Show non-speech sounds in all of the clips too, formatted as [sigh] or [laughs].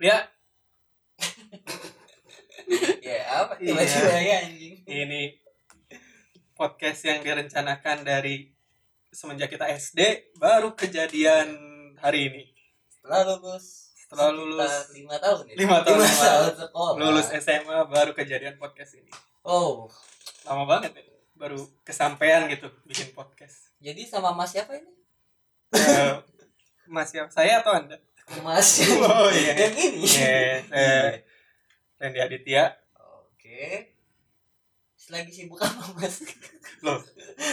Ya, Ya, Iya. Saya anjing. ini podcast yang direncanakan dari semenjak kita SD baru kejadian hari ini Setelah lulus. Setelah sekitar lulus. lima tahun ya. Lima tahun, Lima lima tahun sekolah. lulus SMA baru kejadian podcast ini Oh, lama banget ya baru kesampaian gitu bikin [laughs] podcast jadi sama Mas siapa ini? Eh, Mas siapa saya atau anda Mas [laughs] Oh, iya. yang ini. Eh, eh, Randy Aditya Oke. Lagi sibuk apa Mas? loh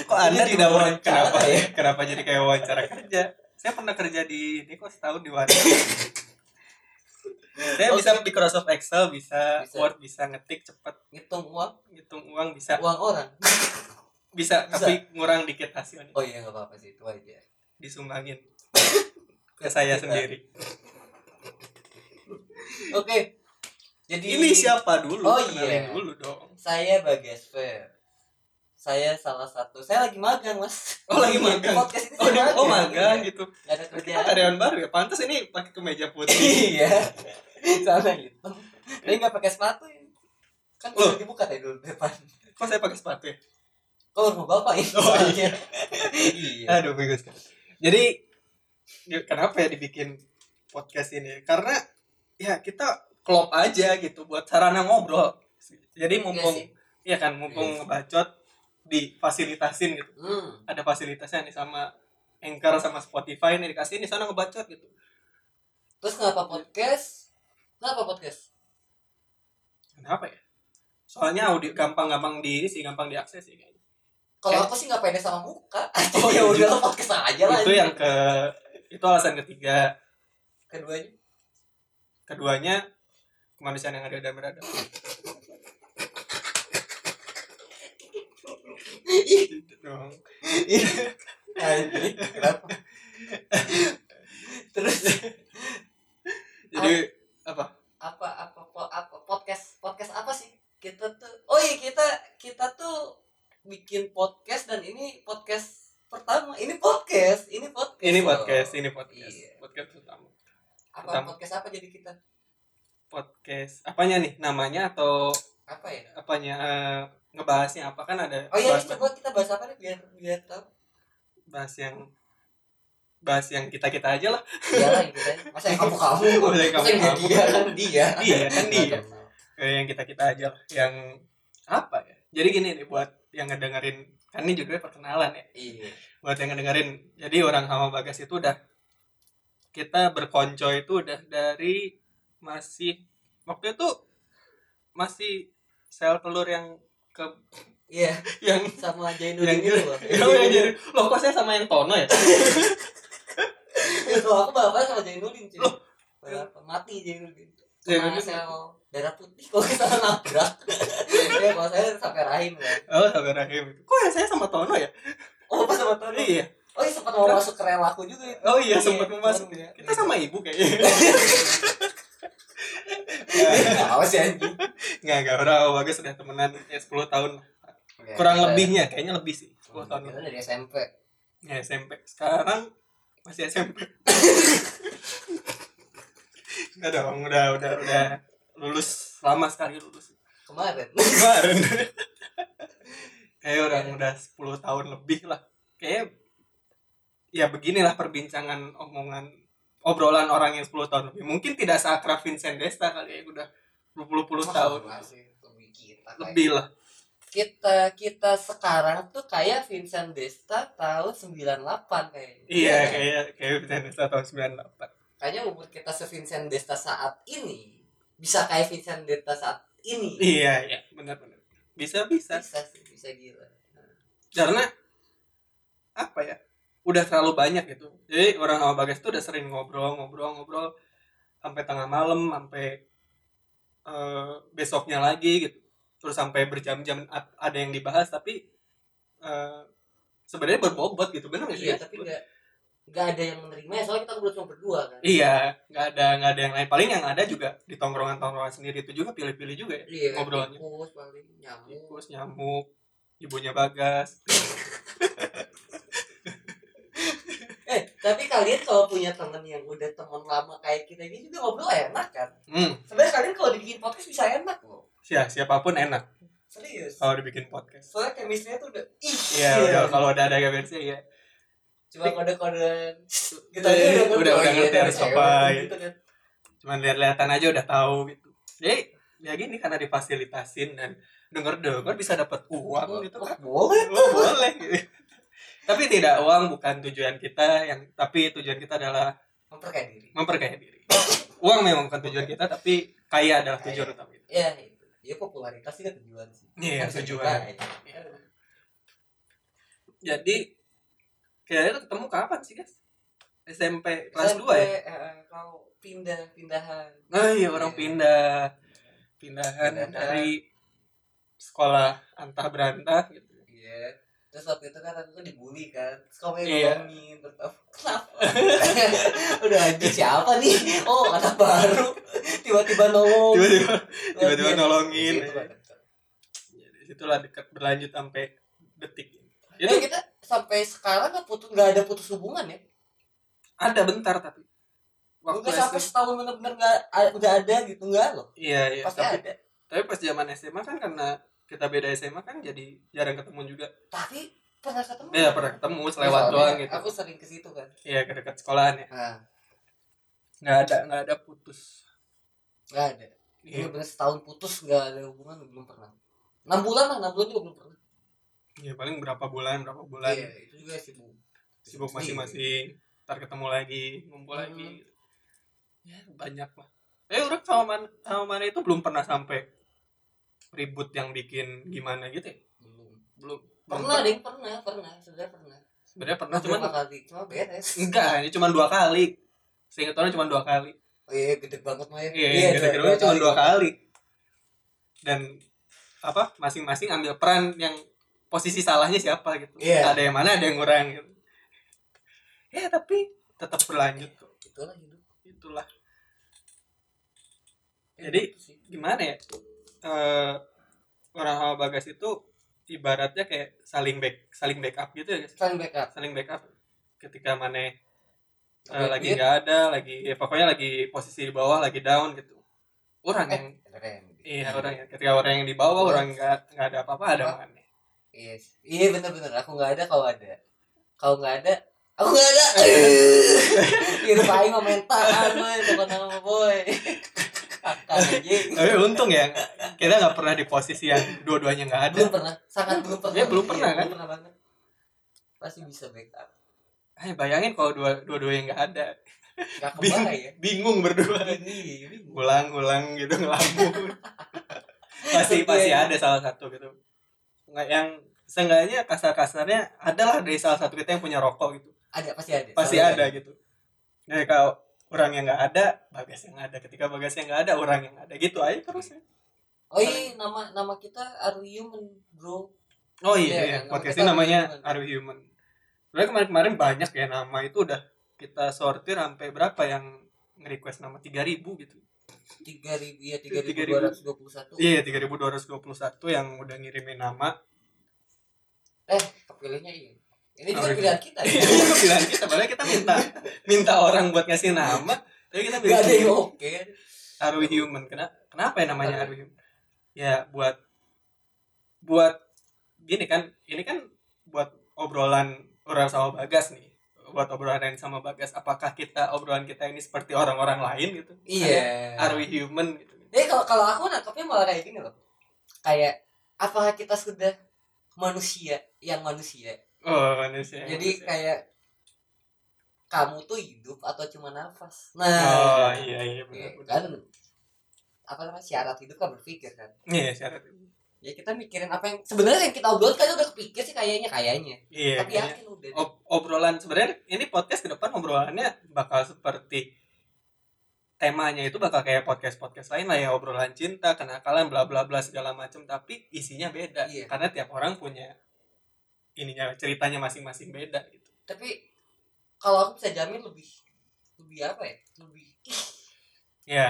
kok anda Ini tidak mau diwawancara kenapa ya? [laughs] kenapa jadi kayak wawancara kerja saya pernah kerja di ini kok setahun di Warna [laughs] saya bisa Oke. Microsoft Excel bisa, Bisa. Word bisa ngetik cepet Ngitung uang, ngitung uang bisa uang orang. bisa Bisa. tapi ngurang dikit hasilnya Oh iya nggak apa-apa sih itu aja. disumbangin [laughs] ke saya Kita- sendiri Oke. Jadi ini siapa dulu Oh, Kenalin iya. dulu dong Saya Bagas Fer. Saya salah satu. Saya lagi magang, Mas. Oh, lagi magang. Podcast ini [laughs] oh, saya di- oh magang Iya. gitu Nggak ada kita kerjaan. karyawan baru ya pantas ini pakai kemeja putih [laughs] iya. Sama gitu. Tapi nggak pakai sepatu ya. Kan Loh. udah dibuka tadi dulu depan. kok saya pakai sepatu ya Kalau rumah bapak ini. Oh, Eh. soalnya. iya. Aduh, bagus sekali. Jadi ya, kenapa ya dibikin podcast ini? Karena ya kita klop aja gitu buat sarana ngobrol. Jadi Iya mumpung ya kan mumpung Iya. ngebacot difasilitasin gitu. Hmm. Ada fasilitasnya nih sama Anchor sama Spotify nih dikasih ini sana ngebacot gitu. Terus kenapa podcast? Kenapa podcast? Kenapa ya? Soalnya audio gampang-gampang di ini sih gampang diakses sih kayaknya. Eh. Kalau aku sih nggak pede sama muka. Oh, [laughs] Oh iya. ya udah podcast aja lah. iya. Itu yang ke itu alasan ketiga. keduanya. Keduanya kemanusiaan yang ada dan berada. Gitu dong. Anjing, kenapa? Terus Jadi apa? apa apa po- apa podcast podcast apa sih? Kita tuh oh iya kita kita tuh bikin podcast dan ini podcast pertama. Ini podcast, ini podcast. Ini loh. podcast, ini podcast. Iya. Podcast pertama. Apa pertama. podcast apa jadi kita? Podcast apanya nih? Namanya atau Apa ya? apanya eh, ngebahasnya apa kan ada Oh iya, bahas, ini coba kita bahas apa nih biar biar tahu. bahas yang bahas yang kita-kita aja Iya lah. Iyalah gitu kan. Masa yang kamu [laughs] kamu. Masa yang Masa yang kamu-kamu. dia kan dia. Iya, kan dia. Nggak kenal. Kayak yang kita-kita aja lah. Yang apa ya? Jadi gini nih buat yang ngedengerin kan ini judulnya perkenalan ya. Iya. buat yang ngedengerin jadi orang sama bagas itu udah kita berkonco itu udah dari masih waktu itu masih sel telur yang ke Iya, [laughs] yang sama Jainuddin yang Iya, itu loh. [laughs] yang yang jadi loh kok saya sama yang tono [laughs] ya Loh, aku balapan sama Jainuddin cuy. Loh. Balapan mati Jainuddin. Sama Jainuddin. sel darah putih kalau kita nabrak. [laughs] ya kalau saya sampai rahim kan. oh sabar rahim kok yang saya sama tono ya Oh, pas sama Tony. iya Oh, iya sempat mau masuk ke relaku juga itu. oh iya sempat Iya, masuk iya. kita sama ibu [laughs] kayaknya [laughs] Ya, Awas ya anjing. nggak nggak orang sama bagas udah temenan ya 10 tahun kurang lebihnya kayaknya ya. lebih sih 10 tahun Iya. Kita dari SMP. Ya SMP. Sekarang masih [laughs] SMP. Enggak dong, udah udah udah lulus lama sekali lulus. Kemarin. Kemarin. [laughs] Kayak orang udah 10 tahun lebih lah. Kayak ya beginilah perbincangan omongan obrolan orang yang 10 tahun lebih. Mungkin tidak seakrab Vincent Desta kali ya udah berpuluh-puluh tahun Masih lebih kita. kayak- lebih lah. kita kita sekarang tuh kayak Vincent Desta tahun 98 kayaknya. Iya, kan? kayak kayak Vincent Desta tahun 98. Kayaknya umur kita se Vincent Desta saat ini bisa kayak Vincent Desta saat ini. Iya, iya, benar-benar. Bisa-bisa. Bisa sih, bisa gila. karena apa ya udah terlalu banyak gitu jadi orang sama Bagas tuh udah sering ngobrol ngobrol ngobrol sampai tengah malam sampai eh, besoknya lagi gitu terus sampai berjam-jam a- ada yang dibahas tapi eh, sebenarnya berbobot gitu benar nggak sih Iya, tapi enggak enggak ada yang menerima ya, soalnya kita ngobrol cuma berdua kan. iya nggak ada nggak ada yang lain paling yang ada juga di tongkrongan tongkrongan sendiri itu juga pilih-pilih juga ya Iya, Ngobrolnya. tikus paling nyamuk. tikus nyamuk ibunya Bagas Eh, tapi kalian kalau punya temen yang udah temen lama kayak kita ini juga ngobrol enak kan? hmm Sebenarnya kalian kalau dibikin podcast bisa enak loh. sia- siapapun enak serius kalau dibikin podcast soalnya chemistry-nya tuh udah ih Oh. Iya, udah kalau udah ada gabersnya ya. cuma kode-kodean Iya, gitu aja udah udah, udah iya, ngerti dari harus cewek, apa. gitu. gitu kan Cuman lihat-lihatan aja udah tahu gitu. Jadi ya gini karena difasilitasin dan denger-denger bisa dapat uang gitu kan. Wah, boleh Oh, boleh. tapi tidak uang bukan tujuan kita yang tapi tujuan kita adalah memperkaya diri memperkaya diri. Uang memang bukan tujuan kita tapi kaya adalah Kaya. tujuan utama kita. ya itu ya popularitas itu tujuan sih Iya, Kan bisa tujuan. juga, itu. Iya. Jadi kayaknya ketemu kapan sih, guys? SMP kelas 2 Sampai, ya? eh, kau pindah pindahan Nah, iya orang Iya. pindah. Pindahan Pindahan. dari sekolah antah berantah gitu. Iya. Terus waktu itu kan aku dibully kan. Terus kamu yang Iya. nolongin. Terus aku, Kenapa? [laughs] Udah aja siapa nih? Oh, anak baru. Tiba-tiba nolong. Tiba-tiba [laughs] Ya, tiba-tiba Iya. nolongin. Gitu kan. Jadi situlah dekat berlanjut sampai detik ini. Itu Itu kita sampai sekarang nggak putus nggak ada putus hubungan ya? ada bentar tapi waktu Enggak sampai SMA. setahun bener-bener nggak a- nggak ada gitu nggak loh. Iya, iya. Pasti Tapi, ada. tapi pas zaman SMA kan karena kita beda SMA kan jadi jarang ketemu juga. Tapi pernah ketemu. Ya pernah ketemu selewat Soalnya doang gitu. Aku sering ke situ kan. Iya, ke dekat sekolahan ya. Nah, Nggak ada nggak ada putus. nggak ada. Iya, Bener-bener setahun putus nggak ada hubungan belum pernah. Enam bulan lah, enam bulan juga belum pernah. Iya, paling berapa bulan, berapa bulan. Iya, itu juga sibuk. sibuk Sendiri. masing-masing ntar ketemu lagi ngumpul Hmm. lagi ya banyak lah eh orang sama man sama mana itu belum pernah sampai ribut yang bikin gimana gitu ya? Belum. belum pernah belum deh pernah pernah sebenarnya pernah per- sebenarnya pernah cuman cuma kali cuma beres [laughs] enggak ini cuma dua kali seingat orang cuma dua kali oh iya gede banget mah iya ya yang dua- gede-gede dua cuma kali. dua kali dan apa masing-masing ambil peran yang posisi salahnya siapa gitu Iya. ada yang mana ada yang kurang gitu ya tapi tetap berlanjut kok itulah hidup itulah Jadi- Itu gitu sih. gimana ya Eh orang sama bagas itu ibaratnya kayak saling back saling backup gitu ya guys saling backup saling backup ketika mana Oke, Eh, lagi iya. nggak ada lagi ya, pokoknya lagi posisi di bawah lagi down gitu orang Eh, yang keren Nah, iya orang yang ketika orang yang di bawah Eh. Iya. orang nggak nggak ada apa-apa ada Apa? mana iya sih. iya bener bener aku nggak ada kau ada kau nggak ada aku nggak [laughs] ada Iya, kirain mau main tangan Ah, boy bukan nama boy kakak aja tapi untung ya kita nggak pernah di posisi yang dua-duanya nggak ada belum pernah sangat belum pernah Iya, belum pernah, Iya, kan? pernah banget pasti bisa backup eh bayangin kalau dua dua-duanya nggak ada nggak Bing- kemana ya bingung berdua ini ini ulang-ulang gitu [laughs] ngelamun pasti pasti ada salah satu gitu nggak yang seenggaknya kasar-kasarnya adalah dari salah satu kita yang punya rokok gitu ada pasti ada pasti Selalu ada gitu dari kalau orang yang nggak ada bagas yang ada ketika bagas yang nggak ada orang yang ada gitu aja terus ya. Oh iya, nama nama kita Are Human, bro. oh Iya, iya, iya. nama podcast kita ini Are namanya Human. Are We Human sebenarnya kemarin-kemarin banyak ya nama itu udah kita sortir sampai berapa yang nge-request nama 3000 gitu Tiga ribu ya tiga ribu 3.000. dua ratus dua puluh satu. iya 3221 yang udah ngirimin nama Eh, kepilihnya iya. Ini Are juga you- pilihan [laughs] kita. ya? Iya, itu pilihan kita padahal kita minta minta orang buat ngasih nama tapi kita Gak ada yang bilang oke. Aru Human kenapa kenapa ya namanya Aru Human ya buat buat gini kan ini kan buat obrolan orang sama Bagas nih buat obrolan lain sama Bagas apakah kita obrolan kita ini seperti orang-orang lain gitu Iya. Are we human gitu Jadi kalau kalau aku nangkapnya malah kayak gini loh. Kayak apakah kita sudah manusia yang manusia? oh manusia Jadi kayak kamu tuh hidup atau cuma nafas. oh Nah, iya iya benar iya, benar kan apa namanya syarat hidup kan berpikir kan. iya syarat ya kita mikirin apa yang sebenarnya yang kita obrolin kan udah kepikir sih kayaknya kayaknya iya tapi ya, kayaknya. yakin udah deh. Ob- obrolan sebenarnya ini podcast ke depan obrolannya bakal seperti temanya itu bakal kayak podcast podcast lain lah ya obrolan cinta kenakalan bla bla bla segala macam tapi isinya beda Iya. karena tiap orang punya ininya ceritanya masing-masing beda gitu tapi kalau aku bisa jamin lebih lebih apa ya lebih ya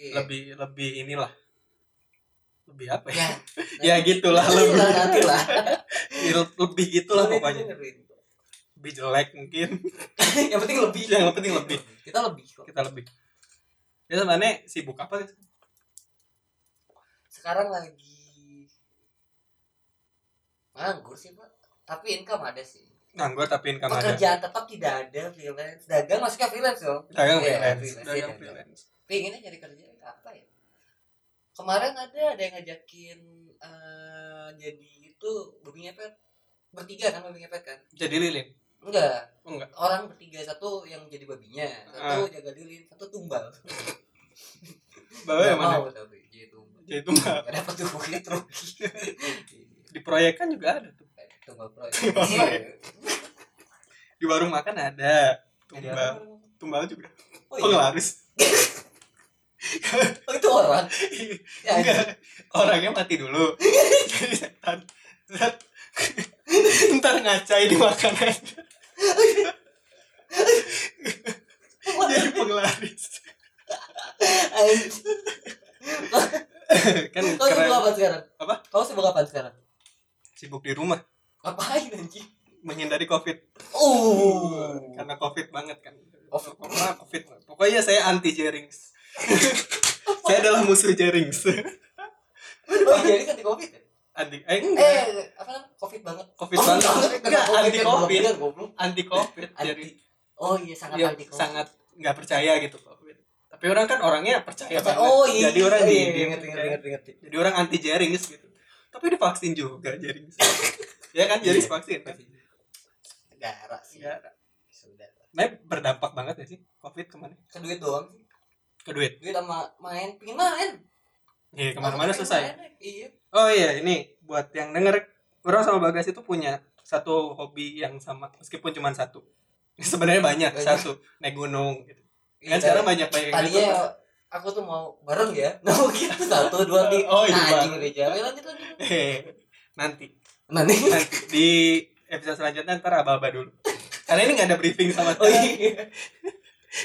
iya. lebih lebih inilah lebih apa [laughs] ya [laughs] ya ya gitulah lebih lah iya, nanti lah lebih gitulah Nanti pokoknya dengerin. lebih jelek mungkin yang penting lebih [laughs] Yang penting lebih. kita lebih kok kita lebih ya sebenarnya sibuk apa sih? sekarang lagi nganggur sih pak tapi income ada sih nganggur tapi income ada pekerjaan tetap tidak ada freelance dagang masuknya freelance dong dagang Iya, freelance freelance, dagang iya, freelance pinginnya nyari kerja apa ya kemarin ada ada yang ngajakin eh, jadi itu bumi ngepet bertiga kan bumi ngepet kan jadi lilin enggak Oh, enggak. Ah. orang bertiga satu yang jadi babinya satu jaga lilin satu tumbal bawa yang Nggak Oh, iya, mana mau tapi jadi tumbal jadi tumbal gak dapet tuh bukit rugi di proyekan juga ada tuh tumbal pro Tumbal pro. di warung makan ada Jadi Iya, tumbal orang- tumbal juga oh, iya. [laughs] penglaris oh itu orang ya, enggak orangnya mati dulu [laughs] jadi setan [laughs] Ntar- ntar ngacai dimakan aja [laughs] jadi penglaris kan Kau sibuk keren apa sekarang? Apa? Kau sibuk apa sekarang? sibuk di rumah Ngapain anjing? menghindari covid Oh. karena covid banget kan Covid. Pokoknya covid pokoknya saya anti [laughs] jerings saya adalah musuh jerings Oh, jadi kan di covid ya? anti eh Eh, enggak. apa namanya? Covid banget. Oh, covid banget enggak anti covid Kan, goblok. anti covid jadi Anti. Oh iya, sangat dia anti covid. sangat nggak percaya gitu covid tapi orang kan orangnya percaya banget Oh iya. jadi orang oh, di iya, di- ngerti, ngerti, ngerti, ngerti. jadi orang anti jerings gitu tapi divaksin juga jerings [laughs] ya kan jerings Iya. vaksin kan? Darah sih. ya Sudah. nah, berdampak banget ya sih covid kemana Ke duit doang sih. ke duit Duit sama main, pingin main. iya kemana-mana Pengen susah ya main, Iya. Oh iya ini buat yang denger orang sama Bagas itu punya satu hobi yang sama meskipun cuma satu. [laughs] Sebenarnya banyak, Banyak. satu naik gunung gitu. Iya, Kan sekarang banyak banyak yang tadinya gitu. aku tuh mau bareng ya [laughs] nah gitu satu dua tiga Oh, iya, nah, anjing Bang. udah jauh lanjut lanjut Eh, [laughs] nanti, nah nih [laughs] nanti Eh, di episode selanjutnya ntar aba-aba dulu. Karena ini nggak ada briefing sama oh sekali, iya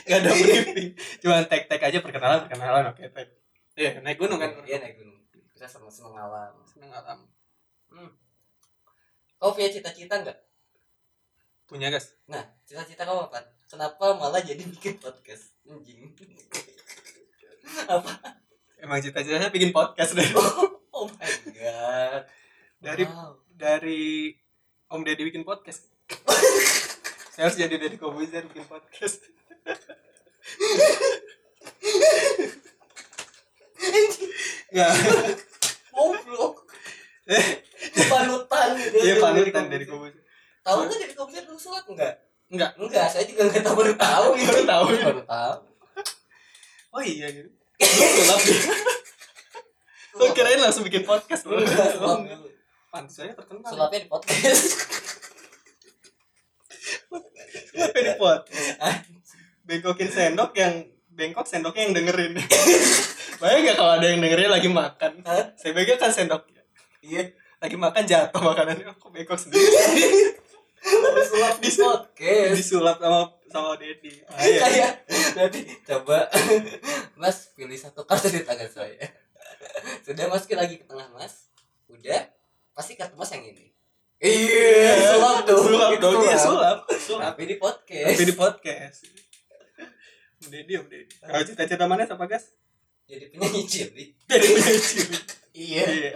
nggak ada briefing. Cuma tek-tek aja perkenalan, perkenalan, oke tek. Iya naik gunung kan? iya naik [laughs] gunung kita sama sama alam Seneng alam. kau punya cita-cita nggak Punya gas. nah cita-cita kau apa kenapa malah jadi bikin podcast anjing [laughs] apa Emang cita-citanya bikin podcast dari oh my god dari wow. dari Om Deddy bikin podcast. Saya harus jadi Deddy Kobuzer bikin podcast. Enggak. goblok [laughs] panutan gitu Dia Iya, panutan Deddy Kobuzer. tahu nggak dari komputer dulu sholat nggak Nggak. nggak saya juga nggak tahu baru tahu gitu [laughs] Baru tahu. ya? baru tahu Oh iya gitu. Lu gelap ya? Lu kirain langsung bikin podcast lu. Enggak, [laughs] sulap dulu. Pantes aja terkenal. sulapnya di podcast [laughs] Kenapa di podcast? Ah, Bengkokin sendok yang bengkok sendoknya yang dengerin. [laughs] Bayang gak kalau ada yang dengerin lagi makan? Hah? Saya pegang kan sendoknya. iya Lagi makan jatuh makanannya. Kok bengkok sendiri? baru sulap di [laughs] podcast disulap sama sama Dedi. Ah, [laughs] iya. saya nanti coba [laughs] mas pilih satu kartu di tangan saya [laughs] sudah masukin lagi ke tengah mas udah pasti kartu mas yang ini iya sulap dong Sulap Itu dong. Iya, sulap. Iya. sulap. Sulap. tapi di podcast Tapi di podcast. Om Dedi, Om Dedi. Iya. Kalau cita-cita mana sama Gas? jadi penyanyi cilik Jadi punya cilik. iya Iya.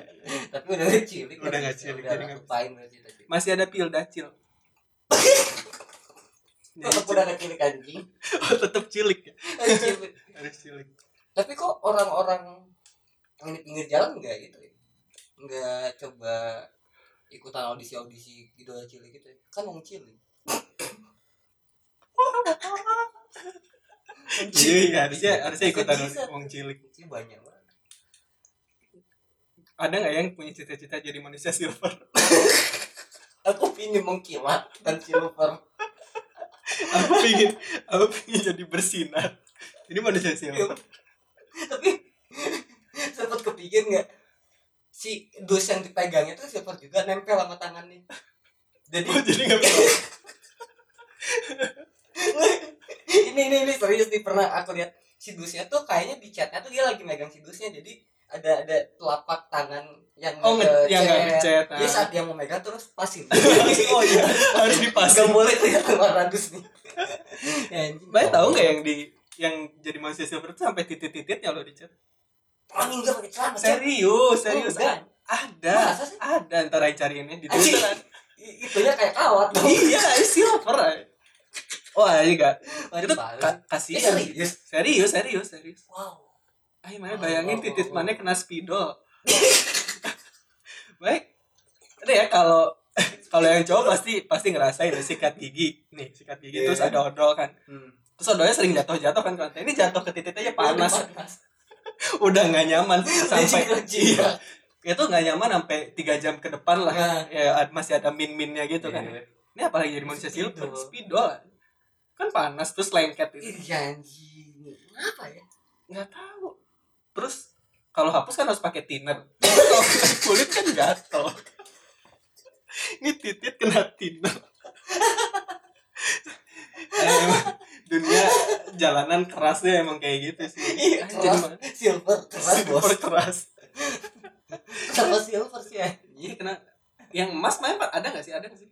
tapi udah nggak cilik Udah nggak cilik, udah jadi nggak nggak lupain udah cita cita Masih ada pil [laughs] dacil. Jadi tetap udah nggak cilik [laughs] anjing cilik. Oh, tetap cilik ya. Cilik. Harus cilik. tapi kok orang-orang yang di pinggir jalan nggak gitu ya nggak coba ikutan audisi audisi idola cilik gitu ya kan wong cilik Wong Iya, cilik. iya, harusnya harusnya ikutan Bisa. wong cilik. Wong cilik banyak banget Ada nggak yang punya cita-cita jadi manusia silver? [laughs] aku pingin mengkilat dan silver Aku pingin, aku pingin jadi bersinar. Ini manusia silver. tapi sempat kepikir nggak si dos yang dipegangnya tuh silver juga nempel sama tangannya jadi Oh, jadi nggak [laughs] bisa. ini ini ini serius nih pernah aku lihat sidusnya tuh kayaknya di chatnya tuh dia lagi megang sidusnya jadi ada ada telapak tangan yang Oh, nge- ngechat. yang nggak ngechat. jadi ah. saat dia mau megang terus [laughs] pasin oh iya harus nggak dipasang boleh kelihatan warna [laughs] dus nih ya, anjing. banyak tahu nggak yang di yang jadi manusia silver itu sampai titit-titit ya lo dicat orang India pakai celana Cep. serius Oh, serius ah. bukan. ada Masa sih? ada ntar Aing cariinnya di Anjing. Twitter I- itunya kayak kawat iya Aing silver Aing. oh Aing gak Waduh, itu baru. ka- Eh, kasihan serius serius serius serius wow Aing mana Oh, bayangin oh, titik oh, oh. mana kena spidol [laughs] baik ada ya kalau kalau yang cowok pasti pasti ngerasain ya, sikat gigi nih sikat gigi Iya. terus ada odol kan hmm. terus odolnya sering jatuh-jatuh kan kan ini jatuh ke titiknya panas Iya, panas udah nggak nyaman sampai Licin-licin. Iya. itu nggak nyaman sampai tiga jam ke depan lah Nah. ya ad- masih ada min minnya gitu kan Iya. ini apalagi jadi manusia Spidol. silver spidol kan panas terus lengket itu Ih, iya, anjing. Kenapa ya? nggak tahu terus kalau hapus kan harus pakai thinner kalau kena [laughs] kulit kan gatel ini titit kena thinner Eh, [laughs] emang dunia jalanan kerasnya emang kayak gitu sih Iya, keras. Jadi, Silver keras, Bos. super keras Kenapa silver sih anjing? Iya kena yang emas main Pak, ada nggak sih ada nggak sih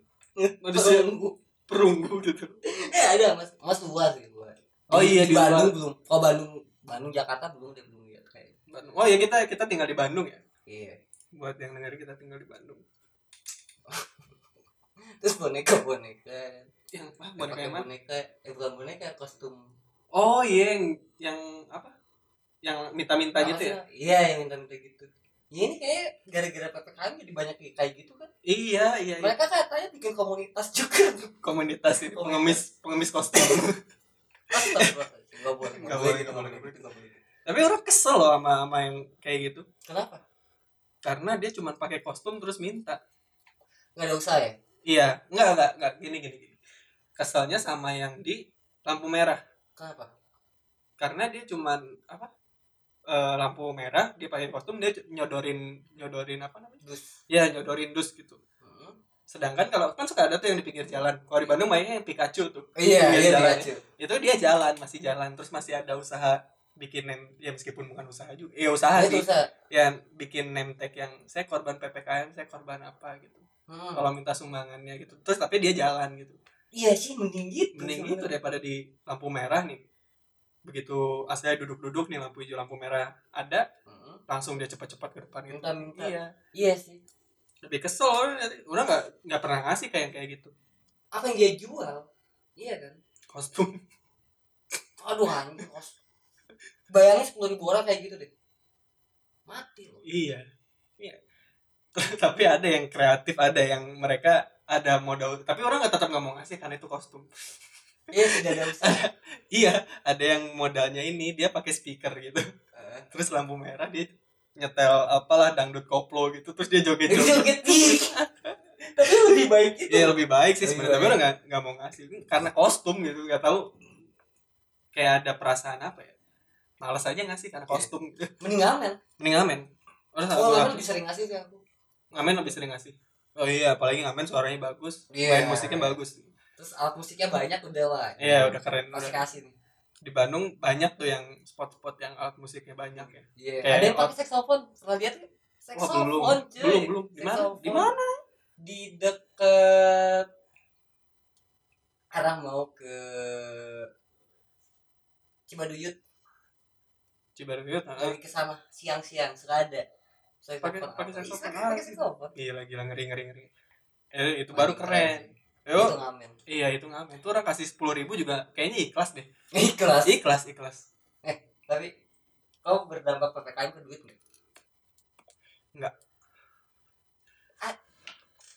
manusia Perunggu. perunggu gitu Eh, ada Mas. Mas luar sih gua. Oh, iya, di Bandung belum. Oh, Bandung. Bandung Jakarta belum deh, belum lihat kayaknya. Bandung. oh ya kita kita tinggal di Bandung ya Iya. buat yang dengar kita tinggal di Bandung Terus boneka-boneka. yang ah, boneka Pakai yang mana boneka, eh bukan boneka, kostum. oh iya yang yang apa yang minta-minta Apa gitu sih? ya Iya, yang minta-minta gitu. Ya, ini kayak gara-gara PPKM jadi banyak kayak gitu kan. iya iya, iya. Mereka katanya bikin komunitas juga. [laughs] komunitas ini pengemis pengemis kostum [laughs] Astagfirullahaladzim. Nggak boleh, Nggak nggak boleh, boleh gitu, nggak nggak boleh. boleh gitu, nggak boleh. tapi orang kesel loh sama sama yang kayak gitu Kenapa? karena dia cuma pakai kostum terus minta Nggak ada usaha ya? iya nggak nggak nggak gini gini gini keselnya sama yang di lampu merah Kenapa? karena dia cuman apa eh, lampu merah dia pakai kostum dia nyodorin nyodorin apa namanya Dus. ya nyodorin dus gitu Hmm. sedangkan kalau kan suka ada tuh yang di pinggir jalan kalau di Bandung mainnya yang Pikachu tuh Iya, Pinggir iya jalan. Pikachu. itu dia jalan masih jalan terus masih ada usaha bikin name ya meskipun bukan usaha juga ya usaha Iya, itu sih usaha. ya bikin name tag yang saya korban ppkm saya korban apa gitu Hmm. kalau minta sumbangannya gitu terus tapi dia jalan gitu Iya sih mending gitu. mending gitu sebenarnya. daripada di lampu merah nih begitu aslinya duduk-duduk nih lampu hijau lampu merah ada Hmm. langsung dia cepat-cepat ke depan gitu. Minta-minta. Iya. Iya sih. Lebih kesel orang nanti- orang nggak nggak pernah ngasih kayak kayak gitu Apa yang dia jual? Iya kan? kostum. Aduh anjing kos. Bayangin sepuluh ribu orang kayak gitu deh. Mati loh. Iya. Iya. [laughs] tapi ada yang kreatif, ada yang mereka ada modal. Tapi orang nggak tetap nggak mau ngasih karena itu kostum. [laughs] Iya tidak ada usaha. Iya. Ada yang modalnya ini dia pakai speaker gitu. [laughs] Eh. Terus lampu merah dia nyetel apalah dangdut koplo gitu terus dia Itu [laughs] joget-joget. joget ih. Tapi lebih baik itu. Iya lebih baik sih Lebih sebenarnya tapi baik. orang nggak nggak mau ngasih karena kostum gitu nggak tahu kayak ada perasaan apa ya malas aja ngasih karena kostum gitu. Mending ngamen. [laughs] mending ngamen orang Iya. ngamen, Oh ngamen lebih sering ngasih sih aku. ngamen lebih sering ngasih oh iya apalagi ngamen suaranya bagus main Iya. musiknya bagus Terus alat musiknya banyak udah lah. iya udah keren Masih udah. kasih nih. di Bandung banyak tuh yang spot-spot yang alat musiknya banyak ya Iya. Kayak Ada yang pakai saksofon. Pernah lihat? nggak? Wah, Saksofon belum cuy. belum belum di mana Saksofon. di mana di deket arah mau ke Cibaduyut Cibaduyut ah. lagi ke sana siang-siang suka ada saya Pakai- pakai saksofon lagi. pakai saksofon gila gila ngeri ngeri ngeri eh, itu baru keren yo yo ngamen [laughs] iya itu ngamen tuh orang kasih sepuluh ribu juga kayaknya ikhlas deh ikhlas ikhlas ikhlas [laughs] tapi kau berdampak ppkm ke duit nggak Nggak. Ah,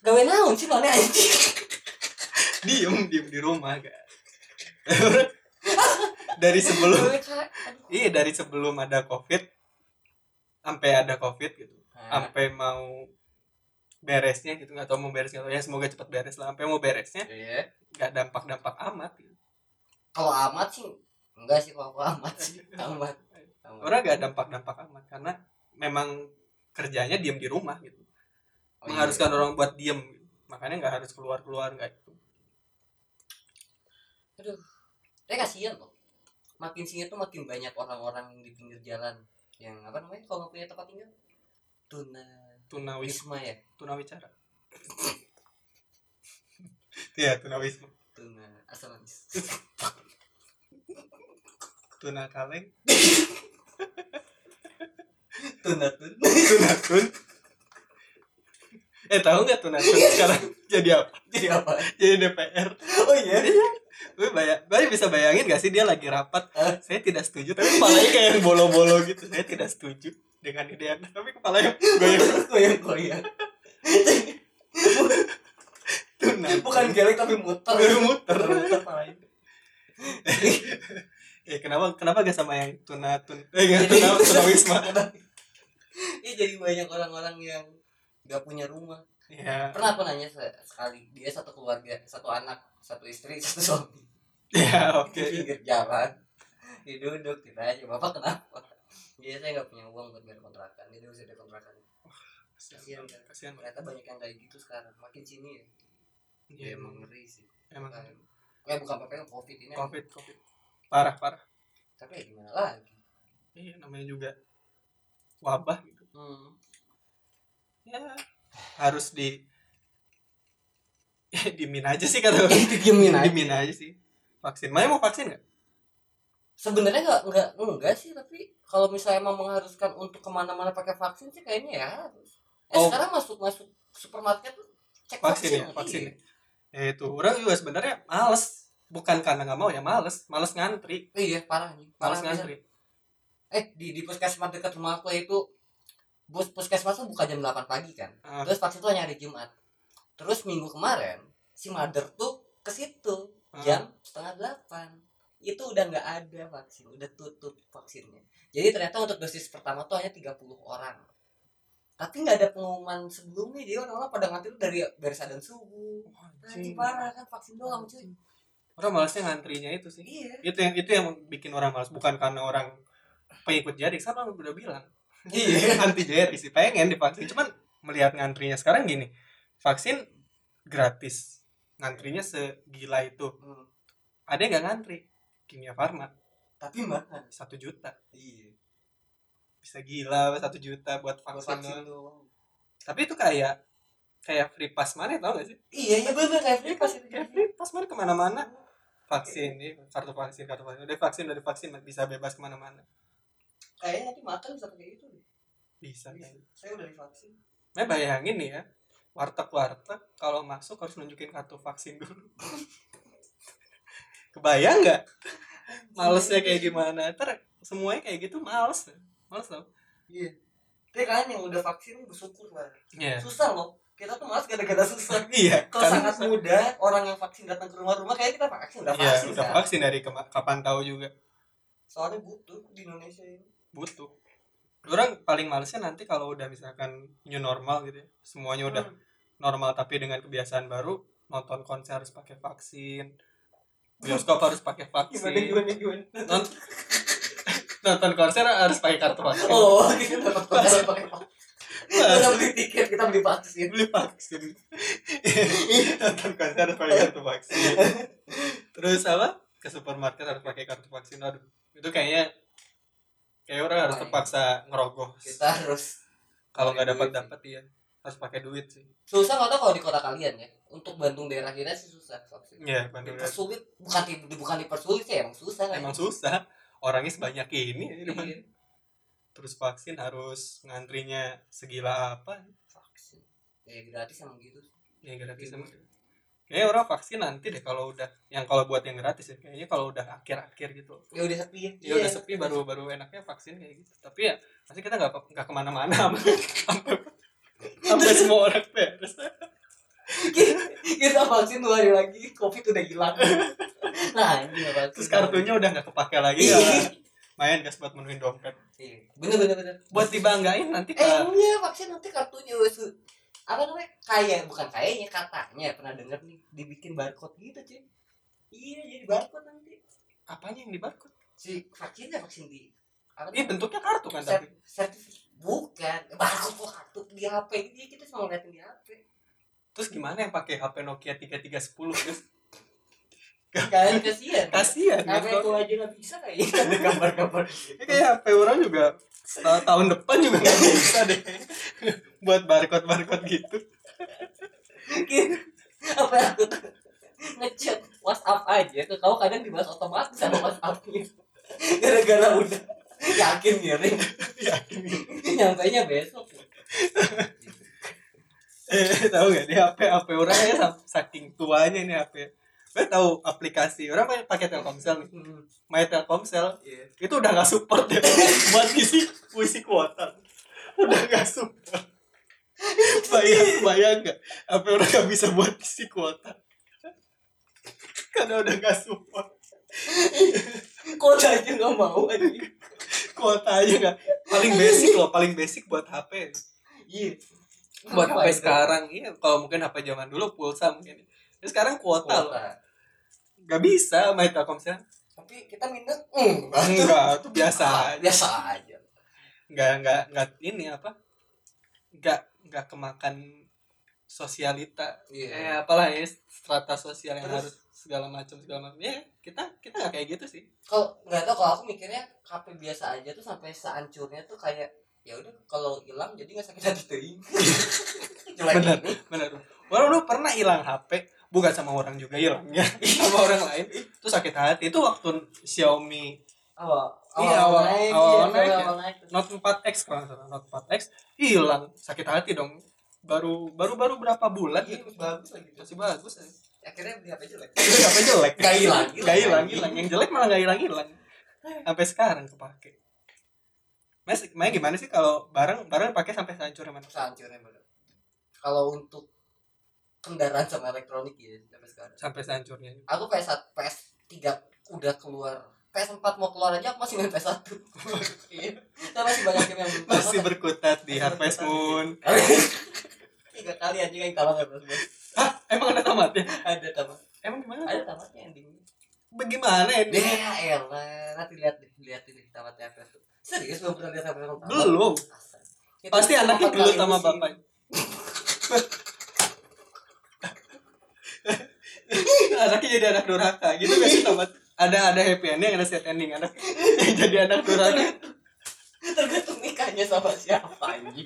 gawe naon sih [laughs] nolnya anjing diem diem di rumah gak [laughs] dari sebelum Gawe ka- aduh. iya dari sebelum ada covid sampai ada covid gitu Nah, sampai mau beresnya gitu nggak tahu mau beresnya atau ya semoga cepat beres lah sampai mau beresnya iya. nggak dampak dampak amat gitu. kalau amat sih enggak sih kalau aku amat [laughs] sih amat amat orang nggak dampak dampak amat karena memang kerjanya diem di rumah gitu Oh, iya. mengharuskan orang buat diem gitu. makanya nggak harus keluar keluar nggak itu Tapi kasihan loh. Makin sini tuh makin banyak orang-orang yang di pinggir jalan yang apa namanya kalau nggak punya tempat tinggal tuna tunawis wisma ya [laughs] tunawicara ya Iya, tunawisma tuna asalamis [laughs] tuna kaleng tunatun tunatun eh tahu nggak tunatun sekarang [laughs] jadi apa [laughs] jadi apa jadi DPR oh iya gue bayang gue bisa bayangin gak sih dia lagi rapat Eh. saya tidak setuju tapi kepalanya kayak yang bolo-bolo gitu saya tidak setuju dengan ide anda tapi kepalanya goyang goyang goyang [laughs] tunatun bukan gelek tapi muter Tapi muter. muter [laughs] malah itu. eh kenapa kenapa gak sama yang tunatun eh gak [laughs] tuna tunawisma Iya jadi banyak orang-orang yang gak punya rumah. ya Pernah aku nanya se- sekali dia satu keluarga, satu anak, satu istri, [laughs] satu suami ya di oke pinggir jalan. Dia duduk ditanya bapak kenapa? Dia saya nggak punya uang buat bayar kontrakan. Dia harus ada kontrakan. kasihan kasihan Ternyata banyak yang kayak gitu sekarang. Makin sini ya. Iya, ya emang ngeri sih. emang Kayak bukan apa-apa covid ini. covid covid parah parah Tapi ya gimana lagi? iya namanya juga wabah gitu Hmm. [laughs] ya harus di [laughs] eh, dimin aja sih kata [laughs] gue. Didiemin aja. dimin aja sih vaksin Maya mau vaksin nggak Sebenarnya nggak nggak enggak sih tapi kalau misalnya emang mengharuskan untuk kemana-mana pakai vaksin sih kayaknya ya harus. Eh Oh. sekarang masuk masuk supermarket tuh vaksin cek vaksin, Iya. ya vaksin ya. ya itu orang juga sebenarnya males bukan karena nggak mau ya males males ngantri Iya, parah nih. Parah males bisa. ngantri Eh di di puskesmas dekat rumah aku itu bus puskesmas tuh buka jam 8 pagi kan. Ah. Terus vaksin tuh hanya hari Jumat. Terus minggu kemarin si mother tuh ke situ Ah. jam setengah delapan. Itu udah nggak ada vaksin, udah tutup vaksinnya. Jadi ternyata untuk dosis pertama tuh hanya 30 orang. Tapi nggak ada pengumuman sebelumnya, jadi orang-orang pada ngantri tuh dari dari dan subuh. Wah, Anjing anjing. parah kan vaksin doang cuy. orang malesnya ngantrinya itu sih Iya. itu yang itu yang bikin orang malas bukan karena orang pengikut Jerry kan orang udah bilang Iya. [laughs] anti Jerry sih pengen divaksin cuman melihat ngantrinya sekarang gini vaksin gratis ngantrinya segila itu Hmm, ada yang nggak ngantri kimia farma tapi mahal. satu juta Iya. bisa gila satu juta buat vaksin, Vaksin doang. doang. tapi itu kayak kayak free pass mana tau gak sih Iya, iya bener kayak free pass itu. kayak free pass mana kemana-mana vaksin ini kartu vaksin kartu vaksin udah vaksin udah vaksin bisa bebas kemana-mana Kayaknya nanti makan bisa pakai itu deh. bisa, bisa. Saya udah divaksin. Nah bayangin nih ya warteg-warteg kalau masuk harus nunjukin kartu vaksin dulu. [laughs] Kebayang nggak? Malesnya kayak gimana? Ter semuanya kayak gitu males, males tau? Iya. Tapi kalian yang udah vaksin bersyukur lah. Iya. Susah loh. Kita tuh malas gara-gara susah. Iya. Kalau kan- sangat muda, orang yang vaksin datang ke rumah-rumah kayak kita vaksin udah Iya, vaksin udah kan. vaksin dari kema- kapan tahu juga Soalnya butuh di Indonesia ini. butuh. Orang paling malesnya nanti kalau udah misalkan new normal gitu, ya, semuanya udah Hmm. normal tapi dengan kebiasaan baru nonton konser harus pakai vaksin, bioskop harus pakai vaksin. Gimana gimana gimana. nonton nonton konser harus pakai kartu vaksin Nah, Oh, kita dapat vaksin pakai vaksin. Kita beli tiket, kita beli vaksin. beli vaksin nonton konser harus pakai kartu vaksin terus apa ke supermarket harus pakai kartu vaksin aduh itu kayaknya kayak orang harus terpaksa ngerogoh Kita harus kalau nggak dapat dapat ya harus pakai duit sih susah nggak tau kalau di kota kalian ya. Untuk Bandung daerah kita sih susah vaksin. ya Bandung ya. dipersulit bukan di, bukan dipersulit sih emang susah kan emang susah orangnya sebanyak ini ya di Iya. Bandung. terus vaksin harus ngantrinya segila apa vaksin ya gratis emang gitu ya gratis emang Kayaknya orang vaksin nanti deh kalau udah yang kalau buat yang gratis ya. Kayaknya kalau udah akhir-akhir gitu. ya udah sepi ya Ya udah sepi baru baru enaknya vaksin kayak gitu. Tapi ya pasti kita nggak nggak kemana-mana [laughs] sampai sampai- [laughs] sampai semua orang beres. kita vaksin dua hari lagi covid udah hilang [laughs] nah ini nggak vaksin Terus kartunya udah nggak kepake lagi ya. Main gas buat menuhin dompet. Iya. bener bener bener Buat dibanggain nanti eh ke iya vaksin nanti kartunya su- apa namanya kaya bukan kayanya katanya pernah denger nih dibikin barcode gitu cuy iya jadi barcode nanti apanya yang di barcode? si vaksinnya vaksin di apa Iya bentuknya kartu kan tapi. sertifikat bukan barcode kok kartu di HP ini kita cuma ngeliatin di [laughs] HP Terus gimana yang pakai HP Nokia 3310 [laughs] terus? kalian kasihan Kasihan. HP itu aja nggak bisa gitu. Iya, kayaknya ada gambar-gambar Ya kayak HP orang juga setahun tahun depan juga nggak bisa deh [laughs] buat barcode barcode gitu mungkin apa yang aku tuh ngechat WhatsApp aja tuh kamu kadang dibahas otomatis ya, Iya, sama WhatsAppnya gara-gara udah yakin ngirim yakin Eh, [laughs] tahu gak nih HP HP orang ya sam- saking tuanya nih HP. Gue tahu aplikasi orang main pakai Telkomsel nih. My Telkomsel Iya. itu udah gak support [laughs] ya buat ngisi puisi kuota. Udah gak support. bayang bayang gak HP orang gak bisa buat ngisi kuota. Karena udah gak support Kota aja nggak mau aja. kuota aja gak. Paling basic loh, paling basic buat HP. Iya. buat Apa HP itu? sekarang iya kalau mungkin HP zaman dulu pulsa mungkin Terus sekarang kuota, loh Kota. nggak bisa main telkomsel Tapi kita minat enggak. [laughs] enggak itu biasa aja Hmm, Biasa aja. nggak nggak nggak ini apa nggak nggak kemakan sosialita eh Iya. apalah ya strata sosial yang Terus? harus segala macam segala macam ya kita kita nggak kayak gitu sih Kalau nggak tahu kalau aku mikirnya HP biasa aja tuh sampai seancurnya tuh kayak ya udah kalau hilang jadi nggak sakit hati teuing. Jelek Bener. ini. benar orang lu pernah hilang HP bukan sama orang juga [laughs] hilangnya sama orang lain itu sakit hati itu waktu Xiaomi Awal Iya, awal- naik, awal iya, naik ya. awal naik. Note 4X kalau nggak salah Note 4X hilang sakit hati dong baru baru baru berapa bulan Iya, gitu bagus lagi. masih bagus ya. Akhirnya beli HP jelek. itu apa jelek Nggak hilang, nggak hilang hilang yang jelek malah nggak hilang hilang sampai sekarang kepake Mas, Maya gimana sih kalau barang barang pakai sampai hancur mana? Sehancurnya bener. Kalau untuk kendaraan sama elektronik ya sampai sekarang. Sampai hancurnya. aku PS PS 3 udah keluar PS 4 mau keluar aja aku masih main PS 1 iya saya masih banyak game yang belum Masih tamat. berkutat di Harvest Moon. [laughs] tiga kali aja yang tamat ya Mas. Hah, emang ada tamatnya? ada tamat Emang gimana? ada tamatnya endingnya Bagaimana ini? ya elah nanti lihat deh lihat ini tamatnya PS tuh serius belum pernah lihat tamat yang tamat? Belum. Asal. Kita Pasti cuma anaknya empat dulu kali sama musim. bapaknya. anaknya jadi anak durhaka gitu gak sih tamat ada ada happy ending ada sad ending anak [laughs] yang jadi anak durhaka [laughs] tergantung nikahnya sama siapa anjing